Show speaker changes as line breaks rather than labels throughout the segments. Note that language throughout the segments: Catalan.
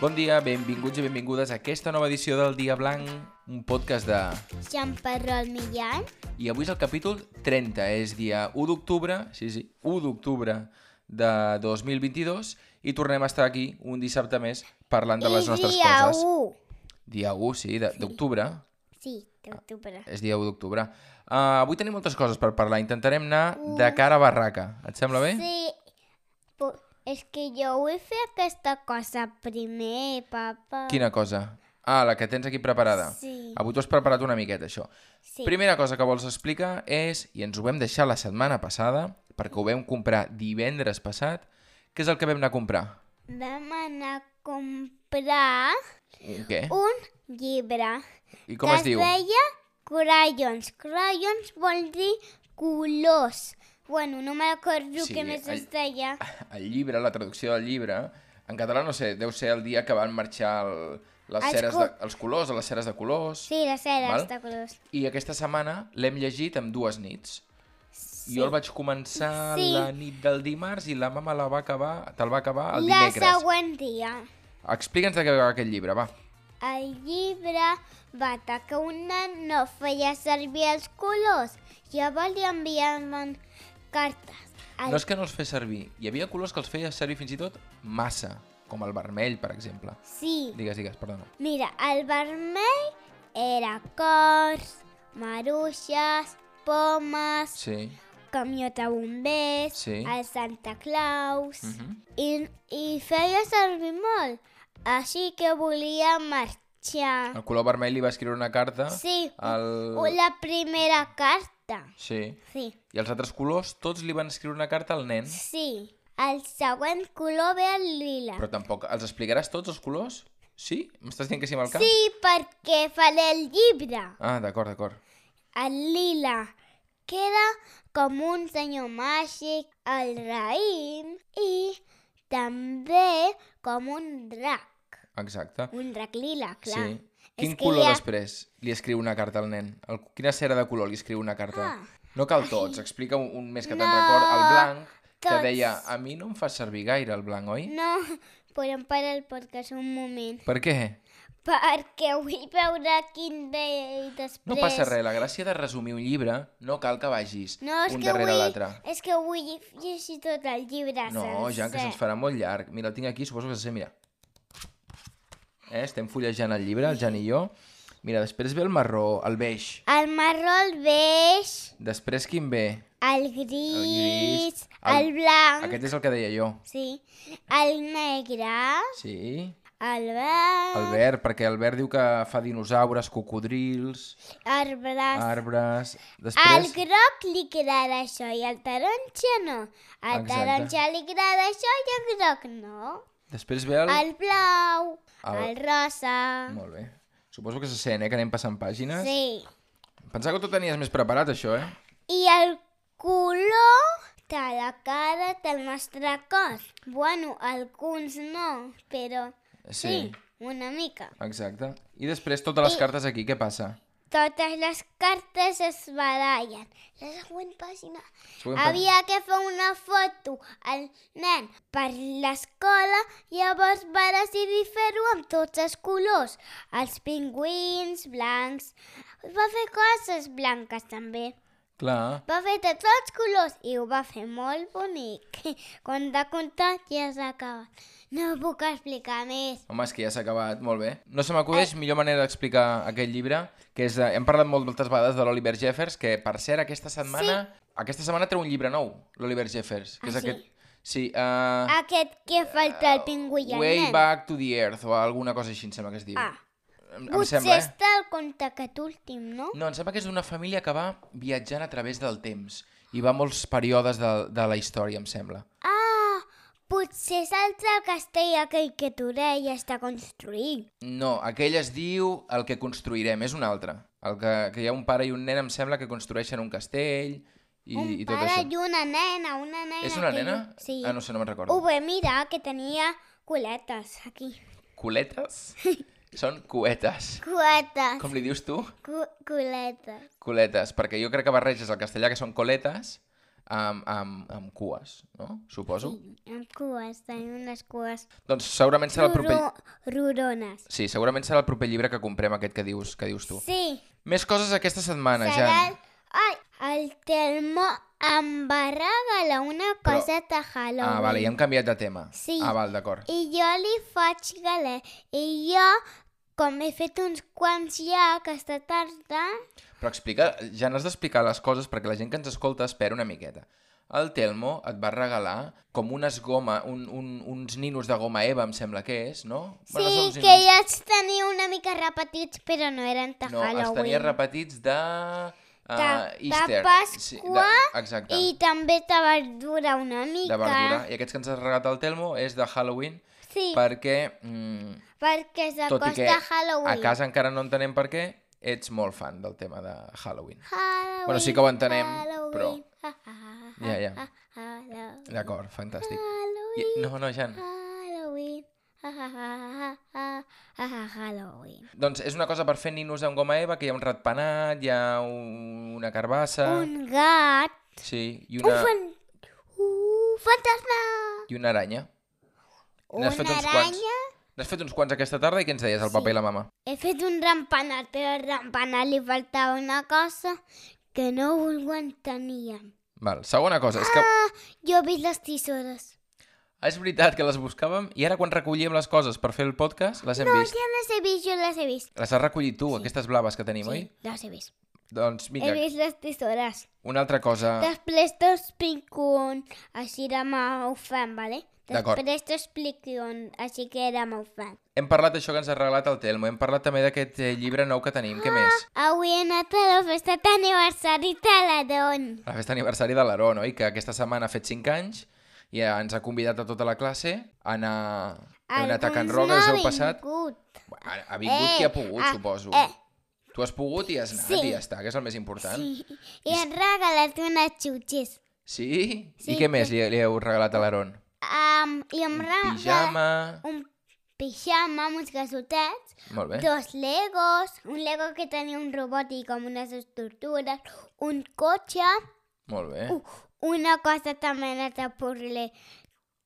Bon dia, benvinguts i benvingudes a aquesta nova edició del Dia Blanc, un podcast de...
Jean Perrol Millán.
I avui és el capítol 30, és dia 1 d'octubre, sí, sí, 1 d'octubre de 2022 i tornem a estar aquí un dissabte més parlant de les
I
nostres
dia
coses.
1.
Dia 1, sí, de- d'octubre.
Sí, d'octubre.
És dia 1 d'octubre. Uh, avui tenim moltes coses per parlar. Intentarem anar de cara a barraca. Et sembla bé?
Sí, po- és que jo vull fer aquesta cosa primer, papa.
Quina cosa? Ah, la que tens aquí preparada.
Sí.
Avui t'ho has preparat una miqueta, això.
Sí.
Primera cosa que vols explicar és, i ens ho vam deixar la setmana passada, perquè ho vam comprar divendres passat, què és el que vam anar a comprar?
Vam anar a comprar
Què?
un llibre
I com
que
es diu?
deia Crayons. Crayons vol dir colors. Bueno, no m'acordo
Sí, Ah,
què més
all-
es deia.
El llibre, la traducció del llibre, en català no sé, deu ser el dia que van marxar el, les
Els
ceres
cu-
de, els colors, a les ceres de colors...
Sí, les
Val.
eres de colors.
I aquesta setmana l'hem llegit amb dues nits. Sí. Jo el vaig començar
Sí.
la nit del dimarts i la mama la va acabar, te'l va acabar el
La
dimecres.
següent dia.
Explica'ns de què va aquest llibre, va.
El llibre va que un nen no feia servir els colors. Llavors li enviaven cartes. El...
No és que no els fes servir. Hi havia colors que els feia servir fins i tot massa, com el vermell, per exemple.
Sí,
Digues, digues, perdona.
mira, el vermell era cors, maruixes, pomes,
Sí.
camió de bombers,
Sí.
el Santa Claus...
Mhm.
I, I feia servir molt, així que volia marxar.
El color vermell li va escriure una carta.
Ah. Sí,
El...
la primera carta.
Sí.
Sí.
I els altres colors, tots li van escriure una carta al nen.
Sí, el següent color ve el lila.
Però tampoc... Els explicaràs tots els colors? Sí? M'estàs dient que sí amb el cap?
Sí, perquè faré el llibre.
Ah, d'acord, d'acord.
El lila queda com un senyor màgic, el raïm i també com un drac.
Exacte.
Un drac lila, Mm, clar.
Sí.
És
Quin
que
color
hi ha-
després li escriu una carta al nen? El... Quina cera de color li escriu una carta? Ah. No cal tots, explica un, un més que te'n
No,
record. El blanc, que
tots. Mm.
deia, a mi no em fa servir gaire el blanc, oi?
No, podem parar el podcast un moment,
Per què?
perquè vull veure quin ve després.
No passa res, la gràcia de resumir un llibre no cal que vagis
No, és
un
que
darrere
vull,
l'altre.
És que vull llegir tot el llibre
No, ja que se'ns farà molt llarg. Mira, el tinc aquí, suposo que se sent, mira. Eh, estem fullejant el llibre, el Jan i jo. Mira, després ve el marró, el beix.
El marró, el beix,
Després quin ve?
el gris,
El
el,
gris, el-
blanc,
Aquest és el que deia jo.
sí, el negre,
Sí.
el verd,
El verd, perquè el verd diu que fa dinosaures, cocodrils,
arbres...
arbres...
Al
Ah, Després...
groc li agrada això i al taronja no. Al
Exacte.
taronja li agrada això i al groc no.
Després ve el...
Al blau,
El-
al rosa...
Molt bé. Suposo que se sent, eh, que anem passant pàgines.
Sí.
Pensava que tu tenies més preparat, això, eh?
I el color de la cara del nostre cos. Bueno, alguns no, però
Sí.
sí, una mica.
Exacte. I després totes les cartes aquí, què passa?
Totes les cartes es barallen. La següent pàgina.
Següent pàgina.
Havia que fer una foto al nen per l'escola, llavors va decidir fer-ho amb tots els colors. Els pingüins, blancs... Va fer coses blanques també.
Clar.
Va fer de tots colors i ho va fer molt bonic. Quan de comptar ja s'ha acabat. No puc explicar més.
Home, és que ja s'ha acabat, molt bé. No se
Eh.
m'acudeix millor manera d'explicar aquest llibre, que és... De... Hem parlat moltes vegades de l'Oliver Jeffers, que, per cert, aquesta setmana... Sí. Aquesta setmana treu un llibre nou, l'Oliver Jeffers. Que
Ah,
és
sí?
aquest... Sí, uh...
Aquest que falta el pingüí i el
Way
nen.
Back to the Earth o alguna cosa així em sembla que es diu.
Ah,
em, em
potser
sembla, eh?
està el conte aquest últim, no?
No, em sembla que és d'una família que va viatjant a través del temps i va a molts períodes de, de la història, em sembla.
Ah, potser és l'altre castell aquell que Torella està construint.
No, aquell es diu El que construirem, és un altre. El que, que hi ha un pare i un nen, em sembla, que construeixen un castell i,
Un
i tot
pare
això.
i una nena, una nena.
És una
que
nena?
diu- Sí.
Ah, no sé, no me'n recordo.
Ho ve mirar, que tenia culetes aquí.
Culetes? Són cuetes.
Cuetes.
Com li dius tu?
Cu culetes.
Coletes, perquè jo crec que barreges el castellà, que són coletes, amb, amb, amb cues, no? Suposo.
Amb cues, tenim unes cues
Doncs segurament serà el proper...
ruro, rurones.
Sí, segurament serà el proper llibre que comprem aquest que dius, que dius tu.
Sí,
Més coses aquesta setmana,
serà...
Jan.
El... Ai, el Telmo em va regalar una
Però-
cosa de Halloween.
Ah, vale, ja hem canviat de tema.
Sí.
Ah, val, d'acord.
I jo li faig galè. I jo, com he fet uns quants ja aquesta tarda...
Però explica, ja n'has d'explicar les coses perquè la gent que ens escolta espera una miqueta. El Telmo et va regalar com unes goma, un, un, uns ninos de goma eva, em sembla que és, no?
Sí,
són uns
que
ninos-
ja els tenia una mica repetits, però no eren de
No, els
Halloween.
tenia repetits de... Uh,
De- de
Easter.
Pasqua
exacte,
I també te va durar una mica.
de verdura. I aquests que ens ha regalat el Telmo és de Halloween
Sí, per...
perquè, mm,
perquè
tot i que
s'acosta Halloween.
a casa encara no entenem per què, ets molt fan del tema de Halloween.
Halloween,
Bueno, sí que ho entenem,
Halloween.
però-
Ha, ha, ha,
Ja, ja.
ha, Halloween.
D'acord, fantàstic. I,
Halloween.
no, no, Jan.
Halloween. Ha, ha, ha, ha, ha, ha, Halloween.
Doncs és una cosa per fer ninos amb goma eva, que hi ha un ratpenat, hi ha un- una carbassa...
Un gat.
Sí, i
Un,
una,
fan... un fantasma.
i una aranya.
Una
N'has fet uns
aranya.
quants. N'has fet uns quants aquesta tarda i què ens deies, el
Sí.
papa i la mama?
He fet un rampanat, però al rampanat li faltava una cosa que no ho enteníem.
Val, segona cosa, és que
Jo he vist les tisores.
Ah, és veritat que les buscàvem i ara quan recollíem les coses per fer el podcast les hem
No,
vist.
ja les he vist, jo les he vist.
Les has recollit tu, aquestes blaves que tenim, oi?
Sí, les he vist.
Doncs
He
vinga, Ah.
vist les tisores.
una altra cosa...
Després t'explico on així de ho fem, vale?
D'acord.
Després t'explico on així que era meu fan.
Hem parlat d'això que ens ha regalat el Telmo, hem parlat també d'aquest eh, llibre nou que tenim,
Ah!
què més?
Avui he anat a la festa d'aniversari de la Don.
La festa aniversari de l'Aró, no? I que aquesta setmana ha fet 5 anys i eh, ens ha convidat a tota la classe a anar, a anar a Can Roca, us heu passat?
Vingut.
Bueno, Ha, ha vingut
Eh,
qui ha pogut,
ah,
suposo.
eh.
Tu has pogut i has anat
Sí.
i ja està, que és el més important.
Sí, i han regalat unes xutxes.
Sí? I
Sí,
què més li, li heu regalat a l'Aron?
Um, I em regala
Pijama...
un pijama amb uns gasotets,
Molt bé.
dos legos, un lego que tenia un robot i com unes estructures, un cotxe,
Molt bé.
u- una cosa també de purle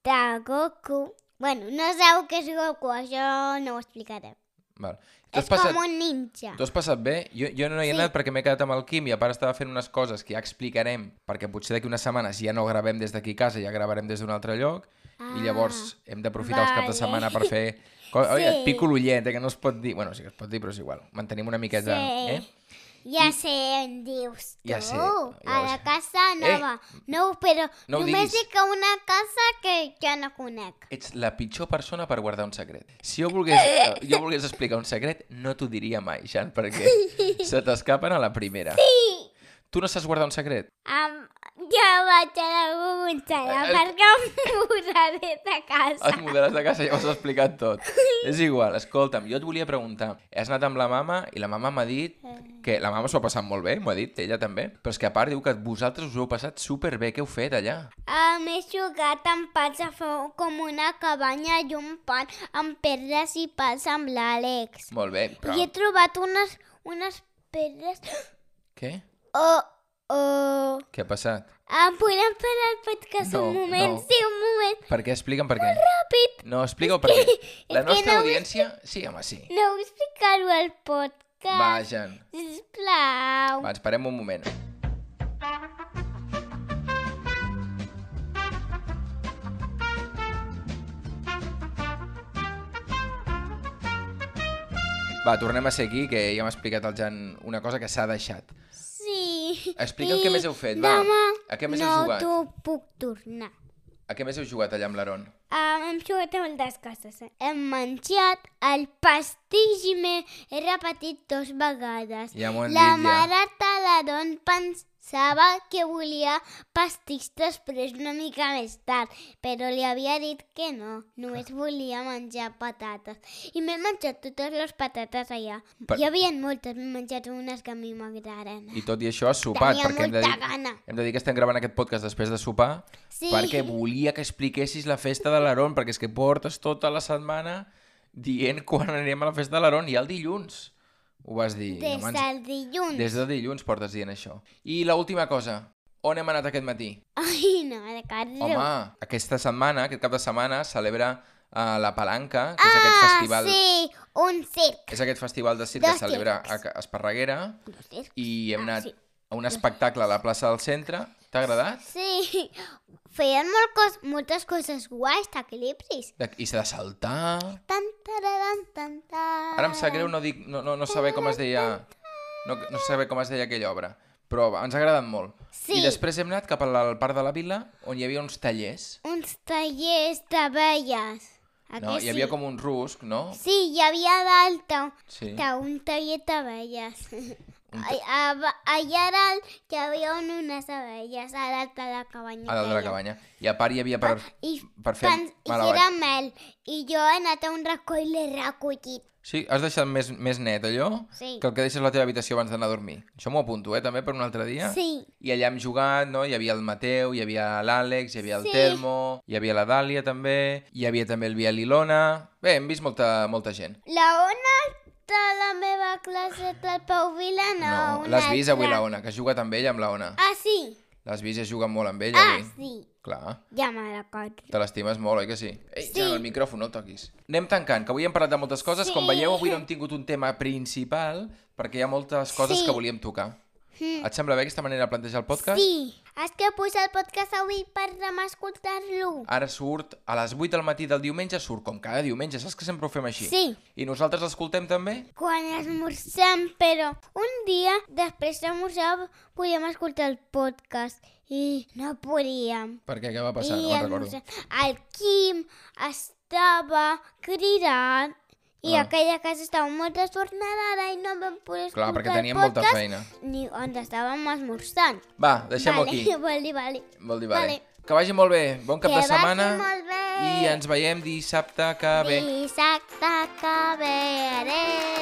de Goku. Bueno, no sabeu què és Goku, això no ho explicaré.
Val. T'ho
És
has passat...
com un ninja.
T'ho has passat bé? Jo, jo no hi he
Sí.
anat perquè m'he quedat amb el Quim i a part estava fent unes coses que ja explicarem perquè potser d'aquí unes setmanes ja no gravem des d'aquí a casa, ja gravarem des d'un altre lloc i llavors hem d'aprofitar els caps de
Ah, vale.
setmana per fer... Co... Oi,
Sí.
et pico l'ullet, eh, que no es pot dir... Bueno, sí que es pot dir, però és igual. Mantenim una miqueta...
Sí.
Eh?
Ja sé on dius tu,
Ja sé, ja
a
ho
la
sé.
casa nova. No, però
No ho diguis.
només dic que una casa que jo no conec.
Ets la pitjor persona per guardar un secret. Si jo volgués, eh, jo volgués explicar un secret, no t'ho diria mai, Jan, perquè se t'escapen a la primera. Sí. Tu no saps guardar un secret?
Um, jo vaig a la Gonçala
Eh, eh.
perquè em mudaré de casa.
Et mudaràs de casa, ja ho has explicat tot. És igual, escolta'm, jo et volia preguntar. Has anat amb la mama i la mama m'ha dit que la mama s'ho ha passat molt bé, m'ho ha dit, ella també, però és que a part diu que vosaltres us ho heu passat superbé, què heu fet allà?
A més, jugat amb pals a fer com una cabanya i un pan amb pedres i pals amb l'Àlex.
Molt bé, però...
I he trobat unes, unes pedres...
Què?
Oh, oh...
Què ha passat?
Em podem parar el podcast
No,
un moment?
no.
Sí, un moment.
Per què? Explica'm per què.
Ràpid.
No, explica-ho per què. La
és que
nostra
no ho
audiència... Sí, home, sí.
No vull explicar-ho al podcast.
Va, Jan.
Sisplau.
Va, ens parem un moment. Va, tornem a ser aquí, que ja m'ha explicat el Jan una cosa que s'ha deixat.
Sí.
Explica'm
I
què més heu fet, va.
Demà
A què més
no
heu jugat?
t'ho puc tornar.
A què més heu jugat allà amb l'Aron?
Um, hem jugat a moltes coses. Eh? Hem menjat el pastís i m'he he repetit dos vegades.
Ja m'ho han
la
dit, ja.
mare Taladon pensava que volia pastís després una mica més tard, però li havia dit que no,
Ah.
només volia menjar patates. I m'he menjat totes les patates allà.
Per-
Hi havia moltes, m'he menjat unes que a mi m'agraden.
I tot i això has sopat,
Tenia
perquè hem de,
molta
dir,
gana.
hem de dir que estem gravant aquest podcast després de sopar,
Sí.
perquè volia que expliquessis la festa de l'Aron, perquè és que portes tota la setmana dient quan anirem a la festa de l'Aron, i el dilluns ho vas dir. i
Des
no m'has-
del dilluns.
Des de dilluns portes dient això. I l'última cosa, on hem anat aquest matí?
Ai, no me recordo.
Home, aquesta setmana, aquest cap de setmana, celebra uh, la Palanca, que és aquest festival...
Ah, sí, un circ.
És aquest festival de circ que
De
celebra a
circs.
Ca- Esparreguera
Un circ?
i hem
Ah,
anat
sí.
a un espectacle a la plaça del centre. T'ha agradat?
Sí, feien molt cos, moltes coses guais, d'equilibris.
De- I s'ha de saltar...
Tan, tararan, tan, tan.
Ara em sap greu no, dic, no, no, no saber com es deia... No, no saber com es deia aquella obra. Però va, ens ha agradat molt.
Sí.
I després hem anat cap al al parc de la vila, on hi havia uns tallers.
Uns tallers d'abelles. Aquí
No?
Ah, sí.
Hi havia com un rusc, no?
Sí, hi havia dalt
Sí.
sí. un taller d'abelles. Ai, a- Allà dalt hi havia unes abelles, a dalt de la cabanya.
A dalt de la cabanya. I a part hi havia per...
I,
per fer
fan- Ah, doncs, i
malabar.
era mel. I jo he anat a un racó i l'he recollit.
Sí, has deixat més, més net, allò?
Sí.
Que el que deixes a la teva habitació abans d'anar a dormir. Això m'ho apunto, eh, també, per un altre dia.
Sí.
I allà hem jugat, no? Hi havia el Mateu, hi havia l'Àlex, hi havia el
Sí.
Telmo, hi havia la Dàlia, també, hi havia també el Biel i l'Ona... Bé, hem vist molta, molta gent.
La Ona de la meva classe del Pau Vila, no. una
l'has vist avui
altra.
la Ona, que es juga també ella amb la Ona.
Ah, sí.
L'has vist i es juga molt amb ella,
Ah,
avui.
sí.
Clar.
Ja me'n recordo.
Te l'estimes molt, oi que sí? Ei,
Sí.
sí. el micròfon, no el toquis. Anem tancant, que avui hem parlat de moltes coses.
Sí.
Com veieu, avui no hem tingut un tema principal, perquè hi ha moltes coses
Sí. Hmm.
que volíem tocar. Et sembla bé aquesta manera de plantejar el podcast?
Sí, has que posar el podcast avui per demà escoltar-lo.
Ara surt a les 8 del matí del diumenge, surt com cada diumenge, saps que sempre ho fem així?
Sí.
I nosaltres l'escoltem també?
Quan esmorzem, però un dia després d'esmorzar podíem escoltar el podcast i no podíem.
Per què? Què va passar?
I
no me'n recordo.
esmorzar- el Quim estava cridant i
Ah.
aquella casa estava molt desordinada i no vam poder escoltar
Clar, perquè teníem
el
molta
podcast
feina.
ni on estàvem esmorzant.
Va, deixem-ho
vale,
aquí.
Vale, vale.
Vol dir, vale.
Vale.
Que vagi molt bé. Bon cap
Que
de setmana.
vagi molt bé.
I ens veiem dissabte que ve.
Dissabte que ve. Adéu.